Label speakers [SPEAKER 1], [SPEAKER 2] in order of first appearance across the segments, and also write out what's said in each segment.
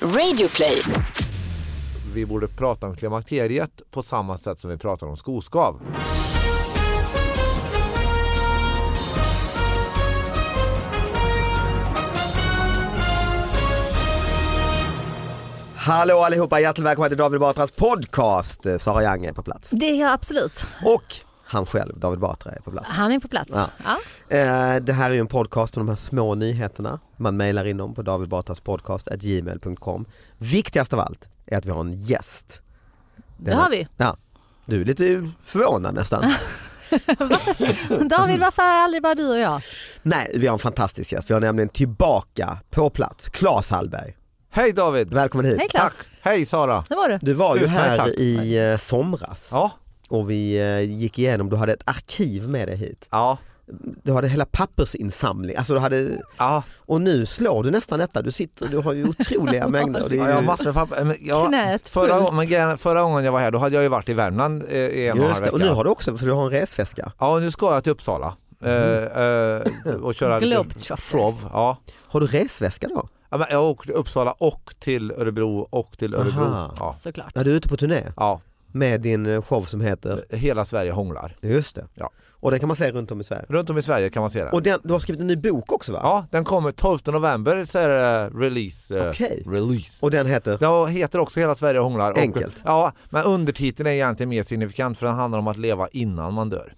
[SPEAKER 1] Radioplay.
[SPEAKER 2] Vi borde prata om klimakteriet på samma sätt som vi pratar om skoskav.
[SPEAKER 3] Hallå allihopa, hjärtligt välkomna till David Batras podcast. Eh, Sara Young är på plats.
[SPEAKER 4] Det är jag absolut.
[SPEAKER 3] Och han själv, David Batra, är på plats.
[SPEAKER 4] Han är på plats.
[SPEAKER 3] Ja.
[SPEAKER 4] Ja.
[SPEAKER 3] Eh, Det här är ju en podcast om de här små nyheterna. Man mejlar in dem på davidbatraspodcast.gmail.com. Viktigast av allt är att vi har en gäst.
[SPEAKER 4] Det har vi.
[SPEAKER 3] Ja. Du är lite förvånad nästan.
[SPEAKER 4] David, varför är aldrig bara du och jag?
[SPEAKER 3] Nej, vi har en fantastisk gäst. Vi har nämligen tillbaka på plats Claes Hallberg.
[SPEAKER 2] Hej David!
[SPEAKER 3] Välkommen hit.
[SPEAKER 4] Hej, Claes.
[SPEAKER 2] Hej Sara!
[SPEAKER 4] Det var du.
[SPEAKER 3] Du var ju
[SPEAKER 2] Utmärkt,
[SPEAKER 3] här
[SPEAKER 2] tack.
[SPEAKER 3] i eh, somras
[SPEAKER 2] Ja,
[SPEAKER 3] och vi eh, gick igenom, du hade ett arkiv med dig hit.
[SPEAKER 2] ja,
[SPEAKER 3] Du hade hela pappersinsamling, alltså du hade,
[SPEAKER 2] ja.
[SPEAKER 3] och nu slår du nästan detta, du sitter, du har ju otroliga mängder. Och det
[SPEAKER 2] ja jag har
[SPEAKER 3] är ju,
[SPEAKER 2] massor med papper. Men jag-
[SPEAKER 4] Knät
[SPEAKER 2] förra,
[SPEAKER 4] fullt.
[SPEAKER 2] gången- men grejen- förra gången jag var här då hade jag ju varit i Värmland eh, i en och en halv
[SPEAKER 3] just det,
[SPEAKER 2] vecka.
[SPEAKER 3] och nu har du också, för du har en resväska.
[SPEAKER 2] Ja, och nu ska jag till Uppsala eh,
[SPEAKER 3] Mm.
[SPEAKER 2] eh, och köra lite
[SPEAKER 4] Globetrotter.
[SPEAKER 2] show. Ja.
[SPEAKER 3] Har du resväska då?
[SPEAKER 2] Ja, men jag åker till Uppsala och till Örebro och till Örebro.
[SPEAKER 3] Aha.
[SPEAKER 2] Ja.
[SPEAKER 4] Såklart.
[SPEAKER 3] Ja, du är ute på turné
[SPEAKER 2] ja,
[SPEAKER 3] med din eh, show som heter,
[SPEAKER 2] hela Sverige hånglar.
[SPEAKER 3] just det,
[SPEAKER 2] Ja.
[SPEAKER 3] och den kan man se runt om i Sverige.
[SPEAKER 2] Runt om i Sverige kan man se den.
[SPEAKER 3] Och den, du har skrivit en ny bok också va?
[SPEAKER 2] Ja, den kommer 12 november så är det release. eh,
[SPEAKER 3] Okej.
[SPEAKER 2] release.
[SPEAKER 3] Och den heter?
[SPEAKER 2] Den heter också Hela Sverige hånglar. Och-
[SPEAKER 3] Enkelt.
[SPEAKER 2] Ja, men undertiteln är egentligen mer signifikant för den handlar om att leva innan man dör.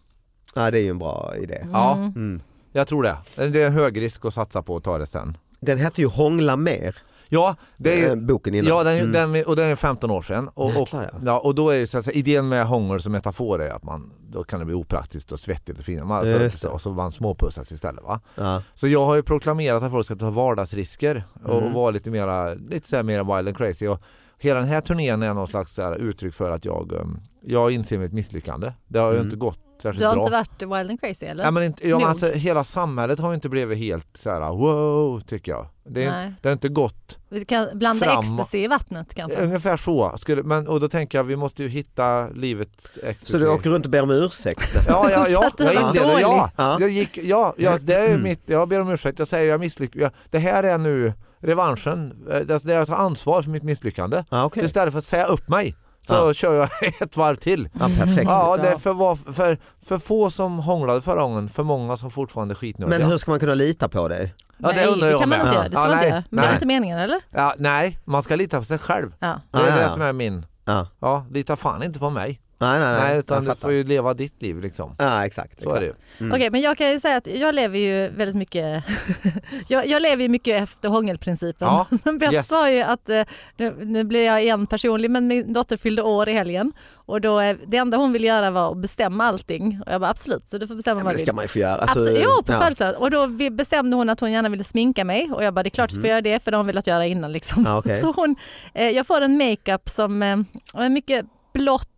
[SPEAKER 3] Ja, det är ju en bra idé.
[SPEAKER 2] Ja,
[SPEAKER 3] Mm.
[SPEAKER 2] jag tror det. Det är en hög risk att satsa på att ta det sen.
[SPEAKER 3] Den hette ju Hångla mer,
[SPEAKER 2] Ja, det är,
[SPEAKER 3] eh, boken innan.
[SPEAKER 2] Ja, den,
[SPEAKER 3] Mm.
[SPEAKER 2] den, och den är 15 år sedan. Och, och,
[SPEAKER 3] Jäklar, ja.
[SPEAKER 2] ja, och då är ju så att säga, idén med hångel som metafor är att man, då kan det bli opraktiskt och svettigt och fint. Man, så,
[SPEAKER 3] Just det.
[SPEAKER 2] så, och så man småpussas istället. Va?
[SPEAKER 3] Ja.
[SPEAKER 2] Så jag har ju proklamerat att folk ska ta vardagsrisker och
[SPEAKER 3] Mm.
[SPEAKER 2] vara lite mera, lite så här mera wild and crazy. Och hela den här turnén är någon slags så här uttryck för att jag, um, jag inser mitt misslyckande. Det har ju
[SPEAKER 3] Mm.
[SPEAKER 2] inte gått särskilt
[SPEAKER 4] Du har
[SPEAKER 2] bra.
[SPEAKER 4] inte varit wild and crazy eller?
[SPEAKER 2] Nej, men inte, ja, men
[SPEAKER 4] Nog.
[SPEAKER 2] alltså, hela samhället har ju inte blivit helt så här wow tycker jag. Det, är,
[SPEAKER 4] Nej.
[SPEAKER 2] det har inte gått
[SPEAKER 4] Vi kan blanda
[SPEAKER 2] Fram-
[SPEAKER 4] ecstasy i vattnet kanske.
[SPEAKER 2] Ungefär så. Skulle, men, och då tänker jag vi måste ju hitta livets ecstasy.
[SPEAKER 3] Så du åker runt och ber om ursäkt
[SPEAKER 2] Ja,
[SPEAKER 3] nästan?
[SPEAKER 2] ja, ja.
[SPEAKER 4] att du
[SPEAKER 2] jag
[SPEAKER 4] var
[SPEAKER 2] inleder.
[SPEAKER 4] dålig.
[SPEAKER 2] Ja.
[SPEAKER 3] Ja. Mm.
[SPEAKER 2] Jag, gick, ja, ja, det är ju mitt, jag ber om ursäkt, jag säger jag misslyckades. Det här är nu revanschen, Eh, det är att ta ansvar för mitt misslyckande.
[SPEAKER 3] Ja, okej.
[SPEAKER 2] Så istället för att säga upp mig så
[SPEAKER 3] Ja.
[SPEAKER 2] kör jag ett varv till.
[SPEAKER 3] ja perfekt.
[SPEAKER 2] Ja, det är för, var- för, för få som hånglade förra gången, för många som fortfarande är skitnödiga.
[SPEAKER 3] Men hur ska man kunna lita på dig?
[SPEAKER 2] ja, det
[SPEAKER 4] nej,
[SPEAKER 2] undrar jag
[SPEAKER 4] det kan man
[SPEAKER 2] med.
[SPEAKER 4] inte
[SPEAKER 2] Ja.
[SPEAKER 4] göra. Det ska
[SPEAKER 2] Ja,
[SPEAKER 4] man
[SPEAKER 2] nej,
[SPEAKER 4] inte göra. Men det
[SPEAKER 2] nej.
[SPEAKER 4] är inte meningen eller?
[SPEAKER 2] ja, nej, man ska lita på sig själv.
[SPEAKER 4] Ah, Ja.
[SPEAKER 2] Det är
[SPEAKER 3] Ja, ja,
[SPEAKER 2] det
[SPEAKER 3] ja.
[SPEAKER 2] som är min...
[SPEAKER 3] Ja.
[SPEAKER 2] Ja, lita fan inte på mig.
[SPEAKER 3] Nej, nej, nej.
[SPEAKER 2] Nej, utan
[SPEAKER 3] Jag
[SPEAKER 2] du
[SPEAKER 3] fattar.
[SPEAKER 2] får ju leva ditt liv liksom.
[SPEAKER 3] Ja, exakt.
[SPEAKER 2] Så är det ju.
[SPEAKER 3] exakt.
[SPEAKER 4] Okej, men jag kan ju säga att jag lever ju väldigt mycket, jag, jag lever ju mycket efter hångelprincipen.
[SPEAKER 2] Ja,
[SPEAKER 4] Bäst
[SPEAKER 2] yes.
[SPEAKER 4] var ju att, eh, nu, nu blir jag igen personlig, men min dotter fyllde år i helgen och då, eh, det enda hon ville göra var att bestämma allting. Och jag bara absolut, så du får bestämma
[SPEAKER 3] Ja, men
[SPEAKER 4] vad
[SPEAKER 3] det
[SPEAKER 4] du
[SPEAKER 3] ska
[SPEAKER 4] vill.
[SPEAKER 3] man ju få göra. Alltså,
[SPEAKER 4] Absolut, jo, på
[SPEAKER 3] ja.
[SPEAKER 4] födelsedagen. Och då vi- bestämde hon att hon gärna ville sminka mig och jag bara det är klart du får göra det för det har hon velat göra innan. Liksom.
[SPEAKER 3] Mhm. Ja, okej.
[SPEAKER 4] Så hon, eh, jag får en makeup som eh, är mycket blått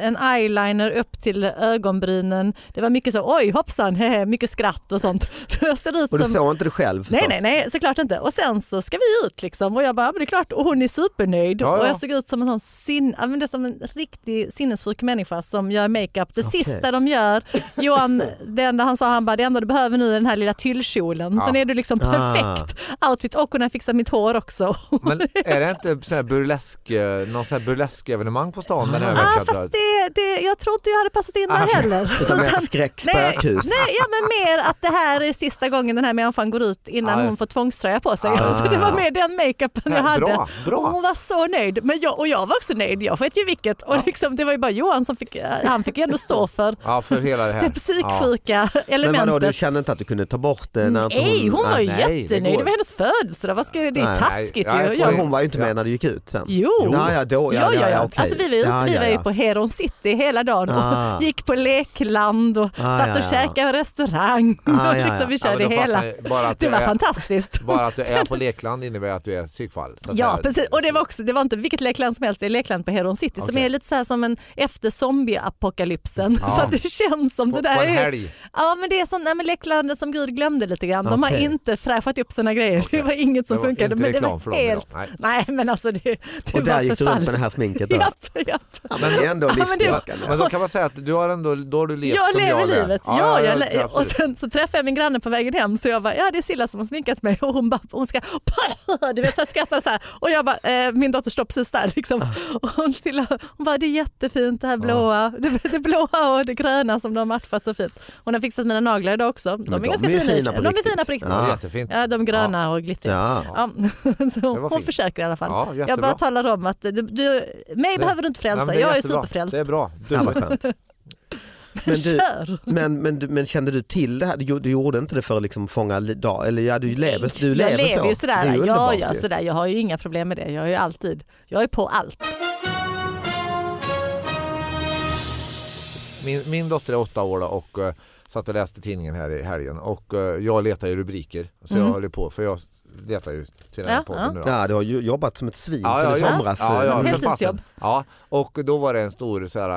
[SPEAKER 4] en eyeliner upp till ögonbrynen. Det var mycket så oj hoppsan, hehe, mycket skratt och sånt. Så jag ser ut
[SPEAKER 3] Och du
[SPEAKER 4] som...
[SPEAKER 3] såg inte det själv förstås?
[SPEAKER 4] Nej, nej, nej, såklart inte. Och sen så ska vi ut liksom och jag bara, ja, men det är klart. Och hon är supernöjd.
[SPEAKER 2] Ja, ja.
[SPEAKER 4] Och jag såg ut som en sån sin, ja, men det är som en riktig sinnessjuk människa som gör makeup. Det
[SPEAKER 3] Okej.
[SPEAKER 4] sista de gör, Johan, det enda han sa, han bara, det enda du behöver nu är den här lilla tyllkjolen. Sen är du liksom
[SPEAKER 3] Ah.
[SPEAKER 4] perfekt outfit och hon har fixat mitt hår också.
[SPEAKER 2] Men är det inte sån här burlesk, eh, någon sån här burlesk-evenemang på stan den här
[SPEAKER 4] Ah,
[SPEAKER 2] veckan? tror jag?
[SPEAKER 4] fast det, det, jag tror inte jag hade passat
[SPEAKER 2] Ah,
[SPEAKER 4] in där heller.
[SPEAKER 3] Utan mer
[SPEAKER 4] Nej,
[SPEAKER 3] skräckspökhus.
[SPEAKER 4] nej, ja, men mer att det här är sista gången den här människan går ut innan
[SPEAKER 2] Ah, Ja,
[SPEAKER 4] hon
[SPEAKER 2] just-
[SPEAKER 4] får tvångströja på sig.
[SPEAKER 2] Ah.
[SPEAKER 4] Så det var mer den makeupen jag
[SPEAKER 2] Ja,
[SPEAKER 4] hade.
[SPEAKER 2] bra, bra.
[SPEAKER 4] Och hon var så nöjd. Men jag, och jag var också nöjd. Jag sket ju vilket. Och liksom, det var ju bara Johan som fick, eh, han fick ju ändå stå för
[SPEAKER 2] Ja, för hela det här.
[SPEAKER 4] det psyksjuka
[SPEAKER 3] Men vadå, du
[SPEAKER 4] elementet.
[SPEAKER 3] kände inte att du kunde ta bort det? När inte
[SPEAKER 4] Nej, hon var ju
[SPEAKER 2] nej, det
[SPEAKER 4] jättenöjd.
[SPEAKER 2] går.
[SPEAKER 4] Det var hennes födelsedag. Vad ska jag- Det är
[SPEAKER 3] Nej,
[SPEAKER 4] taskigt
[SPEAKER 2] nej,
[SPEAKER 4] ju.
[SPEAKER 2] jag-
[SPEAKER 3] Ja.
[SPEAKER 4] Jag,
[SPEAKER 3] Men hon var ju inte med när du gick ut sen?
[SPEAKER 4] Jo.
[SPEAKER 3] Ja, ja, då, ja, ja, ja, okej.
[SPEAKER 4] Alltså, vi var ute,
[SPEAKER 3] Ja,
[SPEAKER 4] vi
[SPEAKER 3] ja,
[SPEAKER 4] var ju
[SPEAKER 3] ja.
[SPEAKER 4] på Heron City hela dagen
[SPEAKER 3] Ah.
[SPEAKER 4] och gick på lekland och
[SPEAKER 3] Ah,
[SPEAKER 4] satt
[SPEAKER 3] ja,
[SPEAKER 4] och
[SPEAKER 3] ja.
[SPEAKER 4] käkade restaurang.
[SPEAKER 3] Ah,
[SPEAKER 4] och
[SPEAKER 3] ja,
[SPEAKER 4] liksom, vi
[SPEAKER 2] Ja, men
[SPEAKER 4] körde
[SPEAKER 2] då fattar
[SPEAKER 4] hela.
[SPEAKER 2] jag ju bara att
[SPEAKER 4] Det
[SPEAKER 2] du
[SPEAKER 4] var
[SPEAKER 2] är-
[SPEAKER 4] fantastiskt.
[SPEAKER 2] Bara att du är på lekland innebär att du är psykfall. så att
[SPEAKER 4] Ja
[SPEAKER 2] säga.
[SPEAKER 4] precis och det var också, det var inte vilket lekland som helst, det är lekland på Heron City som
[SPEAKER 2] Okej.
[SPEAKER 4] är lite så här som en efter zombieapokalypsen.
[SPEAKER 2] Ja.
[SPEAKER 4] Så att det känns som
[SPEAKER 2] På-
[SPEAKER 4] det där
[SPEAKER 2] på en
[SPEAKER 4] är-
[SPEAKER 2] helg.
[SPEAKER 4] Ja men det är sån, nej, men leklandet som Gud glömde lite grann. De har
[SPEAKER 3] Okej.
[SPEAKER 4] inte fräschat upp sina grejer.
[SPEAKER 2] Okej.
[SPEAKER 4] Det var inget som
[SPEAKER 2] Det var
[SPEAKER 4] funkade.
[SPEAKER 2] inte
[SPEAKER 4] men det
[SPEAKER 2] reklam för
[SPEAKER 4] var
[SPEAKER 2] dem idag.
[SPEAKER 4] helt...
[SPEAKER 2] Nej.
[SPEAKER 4] Nej men alltså det, det
[SPEAKER 3] Och där
[SPEAKER 4] var
[SPEAKER 3] gick du runt med
[SPEAKER 4] förfallet.
[SPEAKER 3] det här sminket då?
[SPEAKER 4] Japp, japp.
[SPEAKER 3] Ja, Men ändå ändå
[SPEAKER 4] men det-
[SPEAKER 3] livsbejakande.
[SPEAKER 2] Men då kan man säga att du har ändå, då har du levt
[SPEAKER 4] jag
[SPEAKER 2] som
[SPEAKER 4] lever
[SPEAKER 2] jag
[SPEAKER 4] livet. Ja, jag le- och
[SPEAKER 2] absolut.
[SPEAKER 4] sen så träffade jag min granne på vägen hem så jag bara, ja det är Silla som har sminkat mig och hon bara, hon ska, du vet jag skrattar så här och jag bara, eh, min dotter står precis där liksom. Och hon, Silla, hon bara, det är jättefint det här blåa, det, det blåa och det gröna som de har matchat så fint. Hon har fixat mina naglar idag också. De
[SPEAKER 3] Men
[SPEAKER 4] är
[SPEAKER 3] de
[SPEAKER 4] ganska
[SPEAKER 3] är ju
[SPEAKER 4] fina.
[SPEAKER 3] fina på
[SPEAKER 4] de är
[SPEAKER 3] riktigt.
[SPEAKER 4] fina på riktigt.
[SPEAKER 2] Det är
[SPEAKER 4] Ja,
[SPEAKER 2] jättefint.
[SPEAKER 4] de gröna och glittriga.
[SPEAKER 3] Ja.
[SPEAKER 4] Ja. Så
[SPEAKER 2] Det
[SPEAKER 4] hon,
[SPEAKER 2] var
[SPEAKER 4] hon
[SPEAKER 2] fint.
[SPEAKER 4] försöker i alla fall.
[SPEAKER 2] Ja, jättebra.
[SPEAKER 4] jag bara talar om att du, du, mig behöver du inte
[SPEAKER 2] Nej,
[SPEAKER 4] frälsa,
[SPEAKER 2] men det
[SPEAKER 4] jag är
[SPEAKER 2] jättebra.
[SPEAKER 4] superfrälst.
[SPEAKER 2] Det är bra.
[SPEAKER 3] Ja, vad skönt. Men du,
[SPEAKER 4] Kör!
[SPEAKER 3] men, men, du- men kände du till det här? Du, du gjorde inte det för att liksom fånga li- dag, eller ja du lever, du lever,
[SPEAKER 4] jag lever
[SPEAKER 3] så.
[SPEAKER 4] ju
[SPEAKER 3] Det är
[SPEAKER 4] sådär.
[SPEAKER 3] ju
[SPEAKER 4] ja,
[SPEAKER 3] underbart
[SPEAKER 4] ja,
[SPEAKER 3] ju.
[SPEAKER 4] sådär. Jag har ju inga problem med det. Jag är ju alltid, jag är på allt.
[SPEAKER 2] Min, min dotter är åtta år då och uh, satt och läste tidningen här i helgen och eh, jag letar ju rubriker. Så jag håller på för jag letar ju till den här
[SPEAKER 4] Mm. Ja,
[SPEAKER 2] podden
[SPEAKER 4] ja.
[SPEAKER 2] nu. då.
[SPEAKER 3] Ja, du har ju jobbat som ett svin
[SPEAKER 2] Ja,
[SPEAKER 3] sen
[SPEAKER 2] ja,
[SPEAKER 3] i
[SPEAKER 2] ja.
[SPEAKER 3] somras. eh,
[SPEAKER 2] Ja, ja, för
[SPEAKER 4] Heltidsjobb.
[SPEAKER 2] fasen. Ja, och då var det en stor så här,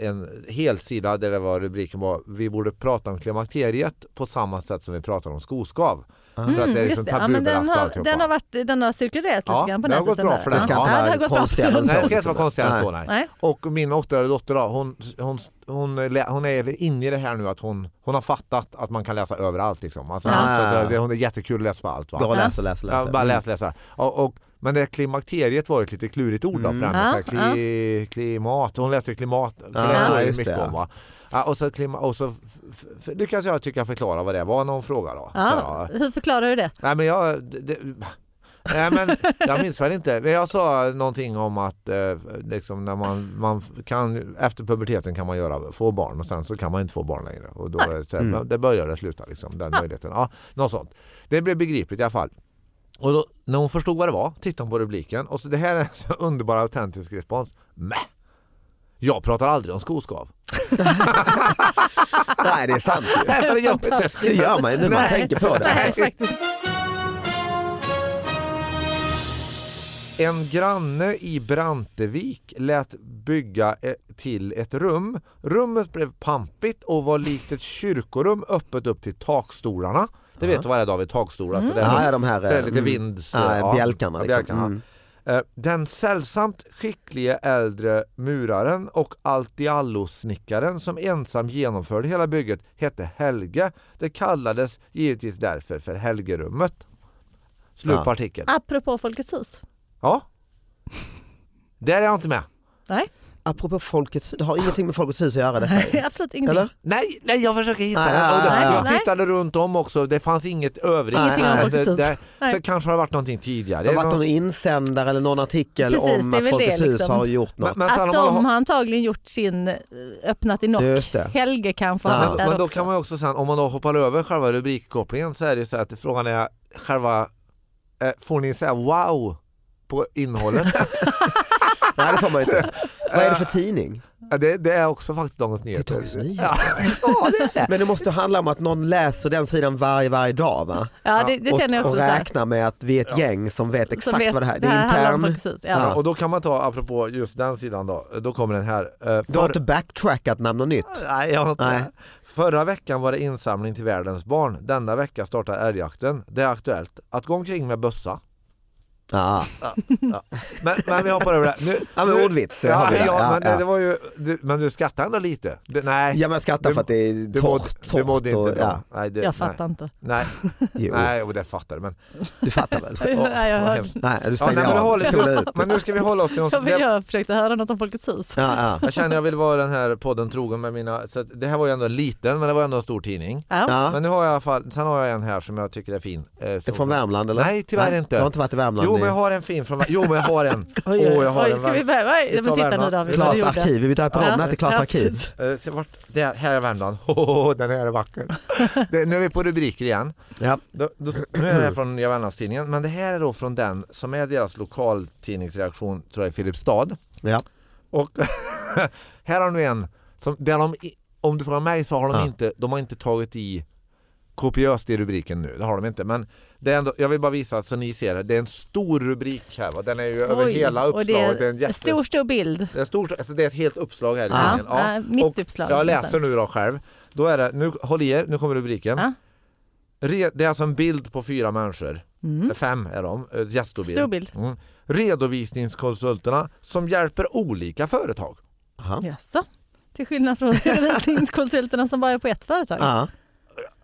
[SPEAKER 2] eh, en helsida där det var rubriken var vi borde prata om klimakteriet på samma sätt som vi pratar om skoskav. För att det är liksom
[SPEAKER 4] Mm, Just det. Ja, men den,
[SPEAKER 2] tabubelagt och
[SPEAKER 4] har,
[SPEAKER 2] alltihopa.
[SPEAKER 4] den, har varit, den har cirkulerat
[SPEAKER 2] Ja,
[SPEAKER 4] lite grann på
[SPEAKER 2] det har
[SPEAKER 4] nätet.
[SPEAKER 2] gått bra
[SPEAKER 4] där.
[SPEAKER 2] för
[SPEAKER 3] Det
[SPEAKER 2] den.
[SPEAKER 3] ska
[SPEAKER 4] Ja,
[SPEAKER 3] inte
[SPEAKER 4] det
[SPEAKER 3] vara
[SPEAKER 4] har gått bra för
[SPEAKER 3] konstigare än
[SPEAKER 4] den.
[SPEAKER 2] Nej,
[SPEAKER 3] så.
[SPEAKER 2] det ska inte vara konstigt än så. Nej.
[SPEAKER 4] Nej.
[SPEAKER 2] Och min åttaåriga dotter då, hon, hon, hon, lä- hon är inne i det här nu att hon, hon har fattat att man kan läsa överallt. Liksom. Alltså,
[SPEAKER 3] Ah.
[SPEAKER 2] så att det, hon är jättekul att läsa på allt. Va?
[SPEAKER 3] Bara läsa, läsa, läsa. Mm.
[SPEAKER 2] Ja, bara läsa, läsa. Och, och, men det klimakteriet var ju ett lite klurigt ord då
[SPEAKER 3] Mm.
[SPEAKER 2] för henne.
[SPEAKER 4] Ja,
[SPEAKER 2] så här, kli, Klimat, hon läste ju klimat, så
[SPEAKER 3] Ah,
[SPEAKER 2] det står ju
[SPEAKER 3] just
[SPEAKER 2] mycket
[SPEAKER 3] det.
[SPEAKER 2] om. Va? Ja, och så, klima, och så f, f, f, lyckas jag tycka förklara vad det var någon fråga då. Så,
[SPEAKER 4] Ja,
[SPEAKER 2] ja.
[SPEAKER 4] hur förklarar du det?
[SPEAKER 2] Nej men jag... Det, det, Nej, men jag minns väl inte. Men Jag sa någonting om att eh, liksom när man, man kan, efter puberteten kan man göra, få barn och sen så kan man inte få barn längre. Och då, är det så här,
[SPEAKER 3] Mm.
[SPEAKER 2] men Det börjar och slutar liksom, den möjligheten. Ja, något sånt. Det blev begripligt i alla fall. Och då, när hon förstod vad det var tittade hon på rubriken och så det här är en så underbar autentisk respons. Mäh! Jag pratar aldrig om skoskav.
[SPEAKER 3] Nej det är sant ju.
[SPEAKER 2] Nej, men det gör vi inte.
[SPEAKER 3] Det gör man ju när man
[SPEAKER 4] Nej.
[SPEAKER 3] tänker på det.
[SPEAKER 4] Nej,
[SPEAKER 3] Alltså.
[SPEAKER 4] faktiskt.
[SPEAKER 2] En granne i Brantevik lät bygga eh, till ett rum. Rummet blev pampigt och var likt ett kyrkorum öppet upp till takstolarna. Det vet du vad det är David, takstolar. Så det
[SPEAKER 3] Mm. Ja, ja, de här,
[SPEAKER 2] så är det lite
[SPEAKER 3] mm,
[SPEAKER 2] vinds...
[SPEAKER 3] ja,
[SPEAKER 2] ja,
[SPEAKER 3] bjälkarna
[SPEAKER 2] ja,
[SPEAKER 3] liksom.
[SPEAKER 2] bjälkarna.
[SPEAKER 3] Mm.
[SPEAKER 2] Eh, Den sällsamt skicklige äldre muraren och Altiallo-snickaren som ensam genomförde hela bygget hette Helge. Det kallades givetvis därför för Helgerummet. Slut på
[SPEAKER 3] Ja.
[SPEAKER 2] artikeln.
[SPEAKER 4] Apropå Folkets hus.
[SPEAKER 2] Ja. Där är jag inte med.
[SPEAKER 4] Nej,
[SPEAKER 3] Apropå Folkets det har ingenting med Folkets hus att göra detta.
[SPEAKER 4] Nej absolut ingenting.
[SPEAKER 3] Eller?
[SPEAKER 2] Nej, nej jag försöker hitta
[SPEAKER 3] Nej,
[SPEAKER 2] den. Och
[SPEAKER 3] nej,
[SPEAKER 2] det,
[SPEAKER 4] nej,
[SPEAKER 2] jag
[SPEAKER 4] nej.
[SPEAKER 2] tittade runt om också, det fanns inget övrigt.
[SPEAKER 3] Ingenting om
[SPEAKER 2] Alltså,
[SPEAKER 4] Folkets hus.
[SPEAKER 2] där-
[SPEAKER 4] Nej.
[SPEAKER 2] Så kanske har det varit någonting tidigare.
[SPEAKER 3] Det har varit någon insändare eller någon artikel
[SPEAKER 4] Precis,
[SPEAKER 3] om
[SPEAKER 4] det är
[SPEAKER 3] att
[SPEAKER 4] väl
[SPEAKER 3] Folkets
[SPEAKER 4] det,
[SPEAKER 3] hus
[SPEAKER 4] liksom.
[SPEAKER 3] har gjort något.
[SPEAKER 2] Men, men, sen
[SPEAKER 4] Att
[SPEAKER 2] om man
[SPEAKER 4] de
[SPEAKER 2] har,
[SPEAKER 4] har antagligen gjort sin, eh, öppnat i nock.
[SPEAKER 3] Just det.
[SPEAKER 4] Helge kanske har
[SPEAKER 3] Ja.
[SPEAKER 4] varit
[SPEAKER 2] men, men
[SPEAKER 4] där
[SPEAKER 2] då
[SPEAKER 4] också.
[SPEAKER 2] kan man ju också sen, om man då hoppar över själva rubrikkopplingen så är det ju så att frågan är själva, eh, får ni säga wow på innehållet?
[SPEAKER 3] Nej det får man ju inte. Vad är det för tidning?
[SPEAKER 2] Ja, det, det är också faktiskt Dagens
[SPEAKER 3] Det är
[SPEAKER 2] Nyheter.
[SPEAKER 3] Dagens Nyheter. Men det måste handla om att någon läser den sidan varje, varje dag va?
[SPEAKER 4] Ja, det, det
[SPEAKER 3] och,
[SPEAKER 4] känner jag
[SPEAKER 3] och
[SPEAKER 4] också. så här.
[SPEAKER 3] räknar med att vi är ett gäng som vet
[SPEAKER 4] Som
[SPEAKER 3] exakt
[SPEAKER 4] vet,
[SPEAKER 3] vad det här är. Det är
[SPEAKER 4] handlar om
[SPEAKER 3] intern.
[SPEAKER 4] Folkets hus,
[SPEAKER 2] Ja,
[SPEAKER 4] ja.
[SPEAKER 2] och då kan man ta, apropå just den sidan då, då kommer den här. Eh,
[SPEAKER 3] Du har
[SPEAKER 2] för-
[SPEAKER 3] inte backtrackat namn och nytt.
[SPEAKER 2] Nej, jag har inte.
[SPEAKER 3] Nej.
[SPEAKER 2] Förra veckan var det insamling till världens barn. Denna vecka startar älgjakten. Det är aktuellt att gå omkring med bössa.
[SPEAKER 3] Ja.
[SPEAKER 2] Men, men vi hoppar över det. Nu,
[SPEAKER 3] Ja, men
[SPEAKER 2] nu-
[SPEAKER 3] ordvits, har
[SPEAKER 2] Ja,
[SPEAKER 3] vi det.
[SPEAKER 2] ja,
[SPEAKER 3] Ja,
[SPEAKER 2] men, det-
[SPEAKER 3] ja.
[SPEAKER 2] Det var ju, du, men du skrattar ändå lite. Det, nej,
[SPEAKER 3] ja men jag skrattar
[SPEAKER 2] Du-
[SPEAKER 3] för att det är
[SPEAKER 2] du, mådde,
[SPEAKER 3] torrt.
[SPEAKER 2] du
[SPEAKER 3] torrt
[SPEAKER 2] mådde inte
[SPEAKER 3] och,
[SPEAKER 2] bra.
[SPEAKER 3] ja.
[SPEAKER 2] Nej, du,
[SPEAKER 4] Jag fattar inte.
[SPEAKER 2] Nej, nej,
[SPEAKER 3] Jo,
[SPEAKER 2] nej och det fattar du. Men,
[SPEAKER 3] du fattar väl?
[SPEAKER 2] åh,
[SPEAKER 4] Nej, jag
[SPEAKER 2] vad
[SPEAKER 4] hörde.
[SPEAKER 2] hemskt.
[SPEAKER 3] Nej du
[SPEAKER 2] Ja, nej,
[SPEAKER 3] stängde
[SPEAKER 2] men, liksom- det
[SPEAKER 3] av,
[SPEAKER 2] håller-
[SPEAKER 3] sola ut.
[SPEAKER 2] men nu ska vi hålla oss till någon
[SPEAKER 4] Jag,
[SPEAKER 2] som, det,
[SPEAKER 4] jag försökte höra något om Folkets hus.
[SPEAKER 3] Ja, ja.
[SPEAKER 2] Jag känner jag vill vara den här podden trogen med mina... Så att, det här var ju ändå en liten, men det var ändå en stor tidning.
[SPEAKER 4] Ja.
[SPEAKER 3] Ja.
[SPEAKER 2] Men nu har jag i alla fall, sen har jag en här som jag tycker är fin. Eh,
[SPEAKER 3] Det är
[SPEAKER 2] som-
[SPEAKER 3] från Värmland eller?
[SPEAKER 2] Nej, tyvärr inte.
[SPEAKER 3] Du har inte varit i Värmland?
[SPEAKER 2] Jo men
[SPEAKER 3] i-
[SPEAKER 2] jag har en fin från Jo men jag har en. Åh
[SPEAKER 4] Oj, oj,
[SPEAKER 2] jag har
[SPEAKER 4] oj,
[SPEAKER 2] en.
[SPEAKER 4] ska vi
[SPEAKER 2] Värm-
[SPEAKER 4] börja? Nej,
[SPEAKER 2] Vi
[SPEAKER 4] Men
[SPEAKER 2] tar
[SPEAKER 4] titta nu
[SPEAKER 2] Värmland.
[SPEAKER 4] David, vad du
[SPEAKER 3] Klas
[SPEAKER 4] gjorde.
[SPEAKER 3] arkiv, vi tar på Romna till Klas
[SPEAKER 4] Ja,
[SPEAKER 3] arkiv.
[SPEAKER 4] precis.
[SPEAKER 2] Eh, se vart, där, här är Värmland. Oh, den här är vacker. Det, nu är vi på rubriker igen.
[SPEAKER 3] Ja.
[SPEAKER 2] Då, då, nu är det här från Nya Värmlandstidningen men det här är då från den som är deras lokaltidningsreaktion tror jag i Filipstad.
[SPEAKER 3] Ja.
[SPEAKER 2] Och här har du en som, där de, i- om du frågar mig så har de
[SPEAKER 3] Ja.
[SPEAKER 2] inte, de har inte tagit i kopiöst i rubriken nu, det har de inte. Men det är ändå, jag vill bara visa så ni ser det, det är en stor rubrik här va? Den är ju över
[SPEAKER 4] Oj,
[SPEAKER 2] hela
[SPEAKER 4] och det är
[SPEAKER 2] uppslaget. Det är, en jätte,
[SPEAKER 4] Stor, stor bild.
[SPEAKER 2] det, är stort, alltså det är ett helt uppslag här i
[SPEAKER 4] Ja,
[SPEAKER 2] tidningen.
[SPEAKER 4] ja, mitt uppslag.
[SPEAKER 2] Jag läser nu då själv. Då är det, nu, håll i er, nu kommer rubriken.
[SPEAKER 4] Ja.
[SPEAKER 2] Re, det är alltså en bild på fyra människor. Fem är de, eh, jättestor bild.
[SPEAKER 4] Stor Mm. bild.
[SPEAKER 2] Mm. Redovisningskonsulterna som hjälper olika företag.
[SPEAKER 3] Aha.
[SPEAKER 4] Jaså? Till skillnad från redovisningskonsulterna som bara är på ett företag.
[SPEAKER 3] Ja.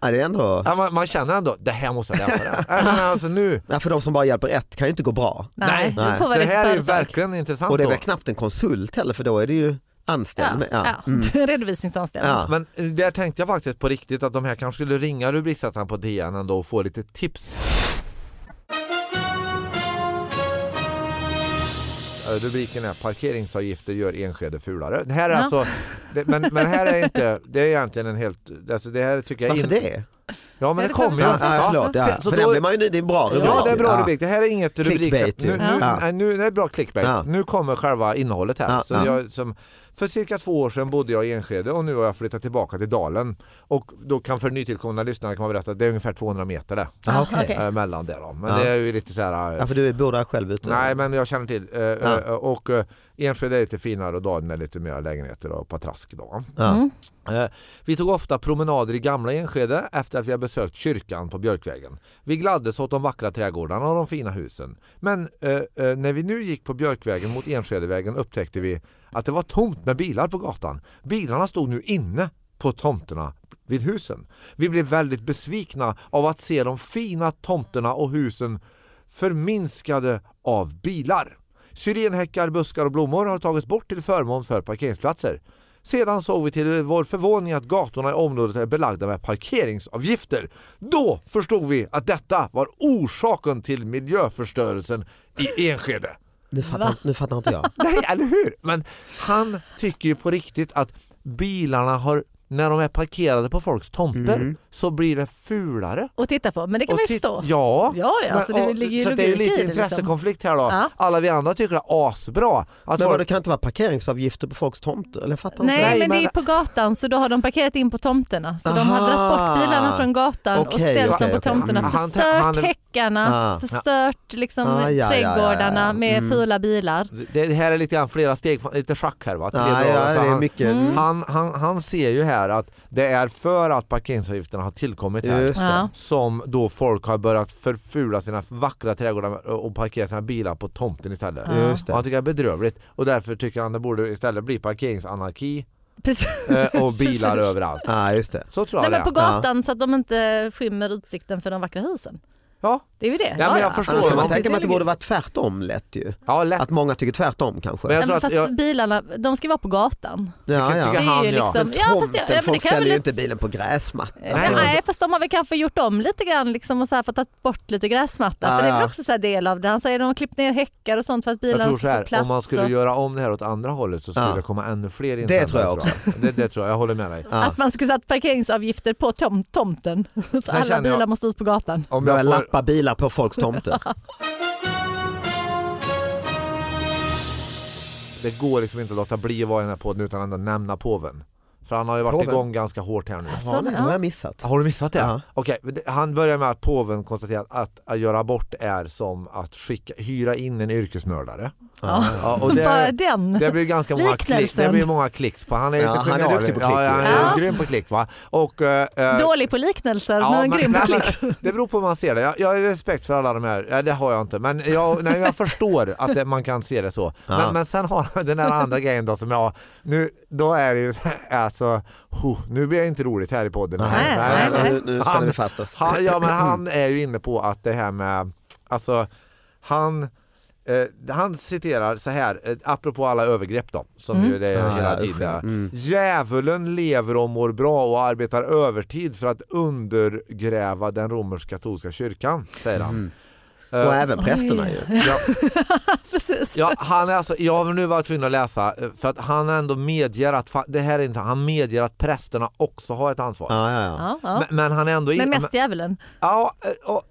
[SPEAKER 3] Ja, det är ändå...
[SPEAKER 2] Ja, man, man känner ändå, det här måste jag läsa. det. Nej, men alltså nu,
[SPEAKER 3] Ja, för de som bara hjälper ett kan ju inte gå bra.
[SPEAKER 4] Nej,
[SPEAKER 3] Nej.
[SPEAKER 4] det får
[SPEAKER 2] så
[SPEAKER 4] vara
[SPEAKER 2] det
[SPEAKER 4] ditt
[SPEAKER 2] här är ju
[SPEAKER 4] företag.
[SPEAKER 2] verkligen intressant.
[SPEAKER 3] Och det är
[SPEAKER 2] då.
[SPEAKER 3] väl knappt en konsult heller för då är det ju anställd.
[SPEAKER 4] Ja,
[SPEAKER 3] Men, ja.
[SPEAKER 4] ja.
[SPEAKER 3] Mm.
[SPEAKER 4] Redovisningsanställd.
[SPEAKER 3] Ja.
[SPEAKER 2] Men eh, där tänkte jag faktiskt på riktigt att de här kanske skulle ringa rubriksättaren på DN ändå och få lite tips. Eh, Rubriken är parkeringsavgifter gör Enskede fulare. Det här är
[SPEAKER 4] Ja.
[SPEAKER 2] alltså, det, men, men här är inte, det är egentligen en helt, alltså det här tycker jag
[SPEAKER 3] Varför
[SPEAKER 2] inte.
[SPEAKER 3] det?
[SPEAKER 2] Ja men
[SPEAKER 4] Ja,
[SPEAKER 2] det
[SPEAKER 4] det
[SPEAKER 2] kommer ju.
[SPEAKER 4] får vi
[SPEAKER 3] Ja,
[SPEAKER 4] Ja,
[SPEAKER 3] ja, förlåt. Ja.
[SPEAKER 2] Så
[SPEAKER 3] för den
[SPEAKER 2] då-
[SPEAKER 3] blir man ju, det är en bra rubrik.
[SPEAKER 2] Ja, det är bra
[SPEAKER 3] Ja.
[SPEAKER 2] rubrik. Det här är inget rubrik.
[SPEAKER 3] Clickbait, ju.
[SPEAKER 2] nu, nu,
[SPEAKER 3] Ja.
[SPEAKER 2] nej, nu, det är bra clickbait.
[SPEAKER 3] Ja.
[SPEAKER 2] Nu kommer själva innehållet här.
[SPEAKER 3] Ja,
[SPEAKER 2] Så
[SPEAKER 3] ja.
[SPEAKER 2] jag, som, för cirka två år sedan bodde jag i Enskede och nu har jag flyttat tillbaka till Dalen. Och då kan för nytillkomna lyssnare kan man berätta att det är ungefär 200 meter där,
[SPEAKER 3] Ja, okej.
[SPEAKER 4] okej.
[SPEAKER 2] eh, mellan där. Då. Men
[SPEAKER 3] Ja.
[SPEAKER 2] det är ju lite så här... eh,
[SPEAKER 3] Ja, för du bor där själv ute.
[SPEAKER 2] Nej men jag känner till. Eh,
[SPEAKER 3] Ja.
[SPEAKER 2] eh, Och eh, Enskede är lite finare och Dalen är lite mera lägenheter och patrask. Då.
[SPEAKER 3] Ja.
[SPEAKER 4] Mm.
[SPEAKER 2] Eh, Vi tog ofta promenader i gamla Enskede efter att vi hade besökt kyrkan på Björkvägen. Vi gladdes åt de vackra trädgårdarna och de fina husen. Men eh, eh, när vi nu gick på Björkvägen mot Enskedevägen upptäckte vi att det var tomt med bilar på gatan. Bilarna stod nu inne på tomterna vid husen. Vi blev väldigt besvikna av att se de fina tomterna och husen förminskade av bilar. Syrenhäckar, buskar och blommor har tagits bort till förmån för parkeringsplatser. Sedan såg vi till vår förvåning att gatorna i området är belagda med parkeringsavgifter. Då förstod vi att detta var orsaken till miljöförstörelsen i Enskede.
[SPEAKER 3] Nu, fattar, nu fattar inte jag.
[SPEAKER 2] Nej, eller hur? Men han tycker ju på riktigt att bilarna har, när de är parkerade på folks tomter, så blir det fulare.
[SPEAKER 4] Och titta på, men det Mm. kan man ju
[SPEAKER 2] titt-
[SPEAKER 4] förstå.
[SPEAKER 2] Ja,
[SPEAKER 4] Ja, ja, alltså det
[SPEAKER 2] och-
[SPEAKER 4] ligger ju
[SPEAKER 2] så att det är ju
[SPEAKER 4] logik i
[SPEAKER 2] lite
[SPEAKER 4] det, liksom.
[SPEAKER 2] intressekonflikt här då.
[SPEAKER 4] Ja.
[SPEAKER 2] Alla vi andra tycker det är asbra. Att
[SPEAKER 3] Men
[SPEAKER 2] folk-
[SPEAKER 3] vad, det kan inte vara parkeringsavgifter på folks tomter? Eller jag fattar
[SPEAKER 4] Nej,
[SPEAKER 2] Nej,
[SPEAKER 4] men det
[SPEAKER 2] men-
[SPEAKER 4] är på gatan så då har de parkerat in på tomterna. Så de har
[SPEAKER 3] Aha.
[SPEAKER 4] dragit bort bilarna från gatan och
[SPEAKER 3] Okej,
[SPEAKER 4] ställt
[SPEAKER 2] okej,
[SPEAKER 4] dem på
[SPEAKER 2] okej.
[SPEAKER 4] tomterna.
[SPEAKER 2] Mm. Han-
[SPEAKER 4] Förstört
[SPEAKER 2] han-
[SPEAKER 4] häckarna,
[SPEAKER 3] Ah.
[SPEAKER 4] förstört liksom,
[SPEAKER 3] Ah, ja, ja, ja, ja,
[SPEAKER 4] trädgårdarna
[SPEAKER 3] ja.
[SPEAKER 4] med
[SPEAKER 3] Mm.
[SPEAKER 4] fula bilar.
[SPEAKER 2] Det det här är lite grann flera steg, från- lite schack här va? Tre
[SPEAKER 3] inte. Nej,
[SPEAKER 2] drag.
[SPEAKER 3] ja,
[SPEAKER 2] Så
[SPEAKER 3] det är
[SPEAKER 2] Alltså, han,
[SPEAKER 3] mycket.
[SPEAKER 4] Mm.
[SPEAKER 3] Mm.
[SPEAKER 2] han, han, han ser ju här att det är för att parkeringsavgifterna har tillkommit här
[SPEAKER 3] Just det.
[SPEAKER 4] Ja.
[SPEAKER 2] som då folk har börjat förfula sina vackra trädgårdar och parkera sina bilar på tomten istället.
[SPEAKER 4] Ja.
[SPEAKER 3] Just
[SPEAKER 2] Och Han
[SPEAKER 3] det.
[SPEAKER 2] tycker det är bedrövligt och därför tycker han det borde istället bli parkeringsanarki
[SPEAKER 4] Precis.
[SPEAKER 2] eh, och bilar
[SPEAKER 4] Precis.
[SPEAKER 2] överallt.
[SPEAKER 3] Ja, just det.
[SPEAKER 2] Så tror
[SPEAKER 4] Nej,
[SPEAKER 2] jag
[SPEAKER 4] men
[SPEAKER 2] det
[SPEAKER 4] på
[SPEAKER 2] är.
[SPEAKER 4] gatan så att de inte skymmer utsikten för de vackra husen.
[SPEAKER 2] Ja.
[SPEAKER 4] Det är ju det.
[SPEAKER 2] Ja, men jag förstår.
[SPEAKER 3] Annars kan man
[SPEAKER 2] Man-
[SPEAKER 3] tänka mig att det borde vara tvärtom lätt ju.
[SPEAKER 2] ja, lätt.
[SPEAKER 3] Att många tycker tvärtom kanske.
[SPEAKER 2] Men jag
[SPEAKER 4] Nej,
[SPEAKER 2] tror
[SPEAKER 4] men
[SPEAKER 2] att
[SPEAKER 4] fast
[SPEAKER 2] jag,
[SPEAKER 4] bilarna, de ska ju vara på gatan.
[SPEAKER 3] ja,
[SPEAKER 2] tycker-
[SPEAKER 3] ja.
[SPEAKER 2] tycker-
[SPEAKER 4] Det
[SPEAKER 2] han,
[SPEAKER 4] är ju
[SPEAKER 2] ja.
[SPEAKER 4] liksom, ja,
[SPEAKER 3] Tomten,
[SPEAKER 4] fast jag, ja, men det
[SPEAKER 3] folk
[SPEAKER 4] kan jag
[SPEAKER 3] ställer
[SPEAKER 4] väl
[SPEAKER 3] ju
[SPEAKER 4] inte
[SPEAKER 3] inte bilen på gräsmattan. Alltså,
[SPEAKER 4] Nej,
[SPEAKER 2] Nej.
[SPEAKER 4] Eh, nej, fast de har väl kanske gjort om lite grann liksom och så här för att ta bort lite gräsmatta.
[SPEAKER 3] Ja,
[SPEAKER 4] för det är
[SPEAKER 3] ja.
[SPEAKER 4] väl också så här del av det. Han säger att de har klippt ner häckar och sånt för att
[SPEAKER 2] jag
[SPEAKER 4] bilarna
[SPEAKER 2] tror
[SPEAKER 4] ska
[SPEAKER 2] så
[SPEAKER 4] få
[SPEAKER 2] här,
[SPEAKER 4] plats.
[SPEAKER 2] om man skulle
[SPEAKER 4] och,
[SPEAKER 2] göra om det här åt andra hållet så skulle
[SPEAKER 3] Ja.
[SPEAKER 2] det komma ännu fler
[SPEAKER 3] tror jag
[SPEAKER 2] Det, det tror jag, jag håller med dig.
[SPEAKER 3] Ja.
[SPEAKER 4] Att man skulle sätta parkeringsavgifter på tom, tomten. Så
[SPEAKER 2] känner
[SPEAKER 4] alla
[SPEAKER 2] jag-
[SPEAKER 4] bilar måste ut på gatan.
[SPEAKER 2] Om
[SPEAKER 3] Börja
[SPEAKER 2] jag får,
[SPEAKER 3] lappa bilar på folks tomter.
[SPEAKER 2] det går liksom inte att låta bli att vara i den här podden utan att ändå nämna påven. För han har ju varit
[SPEAKER 3] Påven?
[SPEAKER 2] igång ganska hårt här nu.
[SPEAKER 4] Alltså,
[SPEAKER 3] Ja, nej, det
[SPEAKER 4] ja.
[SPEAKER 3] har jag missat.
[SPEAKER 2] Har du missat det?
[SPEAKER 3] Ja.
[SPEAKER 2] Okej, men det- han börjar med att påven konstaterar att, att göra abort är som att skicka, hyra in en yrkesmördare.
[SPEAKER 4] Ja.
[SPEAKER 2] Ja, och
[SPEAKER 4] Bara
[SPEAKER 2] det,
[SPEAKER 4] den.
[SPEAKER 2] det blir ganska många, klick,
[SPEAKER 4] Liknelsen.
[SPEAKER 2] det blir många klicks på. Han är,
[SPEAKER 3] Ja,
[SPEAKER 2] lite
[SPEAKER 3] han är
[SPEAKER 2] genial.
[SPEAKER 3] duktig på klick,
[SPEAKER 2] Ja,
[SPEAKER 3] ju.
[SPEAKER 2] han är
[SPEAKER 4] Ja.
[SPEAKER 2] grym på klick. Va? Och, eh, eh,
[SPEAKER 4] Dålig på liknelser men grym på
[SPEAKER 2] nej, men,
[SPEAKER 4] klick.
[SPEAKER 2] det beror på hur man ser det. Jag, jag har respekt för alla de här, ja, det har jag inte, men jag, nej, jag förstår att det, man kan se det så.
[SPEAKER 3] Ja.
[SPEAKER 2] Men, men sen har jag den här andra grejen då som jag, nu, då är det ju alltså, huh, nu blir det inte roligt här i podden.
[SPEAKER 4] Nej, nej, nej.
[SPEAKER 3] Nu, nu spänner vi fast oss.
[SPEAKER 2] Han, ja, men han är ju inne på att det här med, alltså han, eh, han citerar så här, eh, apropå alla övergrepp då, som ju det är
[SPEAKER 3] Ah,
[SPEAKER 2] hela
[SPEAKER 3] ja, usch,
[SPEAKER 2] tiden.
[SPEAKER 3] ja. Mm.
[SPEAKER 2] Djävulen lever och mår bra och arbetar övertid för att undergräva den romersk-katolska kyrkan, säger han.
[SPEAKER 3] Och
[SPEAKER 2] Eh,
[SPEAKER 3] även prästerna ju.
[SPEAKER 2] ja,
[SPEAKER 4] Precis.
[SPEAKER 2] Ja, han är alltså, jag har nu varit tvungen att läsa eh, för att han ändå medger att, fa- det här är inte, han medger att prästerna också har ett ansvar.
[SPEAKER 3] Ja, ja, ja.
[SPEAKER 4] Ja, ja.
[SPEAKER 2] Men, men han är ändå i-
[SPEAKER 4] Men mest djävulen.
[SPEAKER 2] Ja, eh, och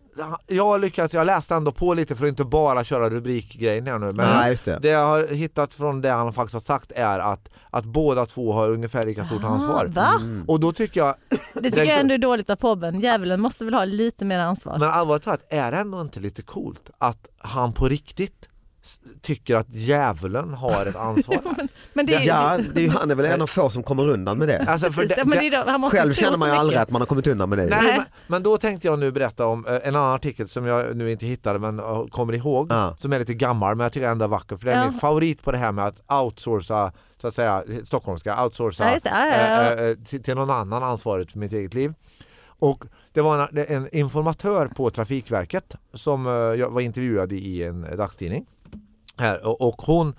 [SPEAKER 2] jag lyckats, jag läste ändå på lite för att inte bara köra rubrikgrejen här nu. Men
[SPEAKER 3] Nej, just det.
[SPEAKER 2] det jag har hittat från det han faktiskt har sagt är att, att båda två har ungefär lika stort ansvar.
[SPEAKER 4] Ah,
[SPEAKER 2] Mm.
[SPEAKER 4] va?
[SPEAKER 2] Och då tycker jag,
[SPEAKER 4] Det tycker jag ändå är dåligt av påven. Djävulen måste väl ha lite mer ansvar.
[SPEAKER 2] men allvarligt talat, är det ändå inte lite coolt att han på riktigt s- tycker att djävulen har ett ansvar. här.
[SPEAKER 4] Men det är,
[SPEAKER 3] Ja, det är, ju- han är väl en av få som kommer undan med det.
[SPEAKER 2] Alltså, för
[SPEAKER 4] precis,
[SPEAKER 2] det-
[SPEAKER 4] ja, men
[SPEAKER 2] det-
[SPEAKER 4] det är, då- han måste
[SPEAKER 3] Själv
[SPEAKER 4] tro
[SPEAKER 3] känner
[SPEAKER 4] så
[SPEAKER 3] man ju aldrig
[SPEAKER 4] mycket.
[SPEAKER 3] att man har kommit undan med det.
[SPEAKER 2] Nej,
[SPEAKER 4] Nej.
[SPEAKER 2] Men, men då tänkte jag nu berätta om eh, en annan artikel som jag nu inte hittade men eh, kommer ihåg
[SPEAKER 3] Ja.
[SPEAKER 2] som är lite gammal men jag tycker ändå är vacker för det är
[SPEAKER 4] Ja.
[SPEAKER 2] min favorit på det här med att outsourca så att säga stockholmska, outsourca
[SPEAKER 4] Ja, just det. Ja, ja, ja.
[SPEAKER 2] eh, eh, till, till någon annan ansvaret för mitt eget liv. Och det var en, en informatör på Trafikverket som eh, jag var intervjuad i en dagstidning. Här, och, och hon,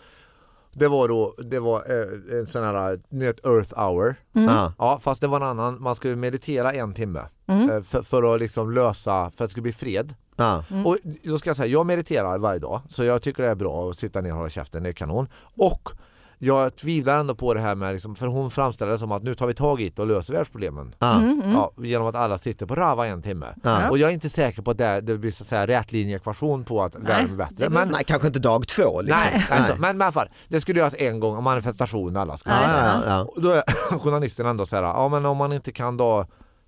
[SPEAKER 2] det var då, det var eh, en sån här, ni vet, Earth hour.
[SPEAKER 3] Ja.
[SPEAKER 2] Ja, fast det var en annan. Man skulle meditera en timme
[SPEAKER 3] Mm.
[SPEAKER 2] eh, för, för att liksom lösa, för att det skulle bli fred.
[SPEAKER 3] Ja.
[SPEAKER 2] Och då ska jag säga, jag mediterar varje dag så jag tycker det är bra att sitta ner och hålla käften, det är kanon. Och jag tvivlar ändå på det här med, liksom, för hon framställer det som att nu tar vi tag i det och löser världsproblemen.
[SPEAKER 3] Ja.
[SPEAKER 2] Ja, genom att alla sitter på Rava en timme.
[SPEAKER 3] Mm, Ja.
[SPEAKER 2] Och jag är inte säker på att det, det blir så att säga rätlinjeekvation på att världen blir
[SPEAKER 4] det
[SPEAKER 2] bättre.
[SPEAKER 4] är
[SPEAKER 2] Mm. Men,
[SPEAKER 3] Nej, kanske inte dag två liksom.
[SPEAKER 2] nej, alltså, men men i alla fall, det skulle göras en gång, en manifestation alla skulle
[SPEAKER 3] Ja,
[SPEAKER 4] Nej.
[SPEAKER 3] ja, ja.
[SPEAKER 2] och då är journalisten ändå så här, ja men om man inte kan då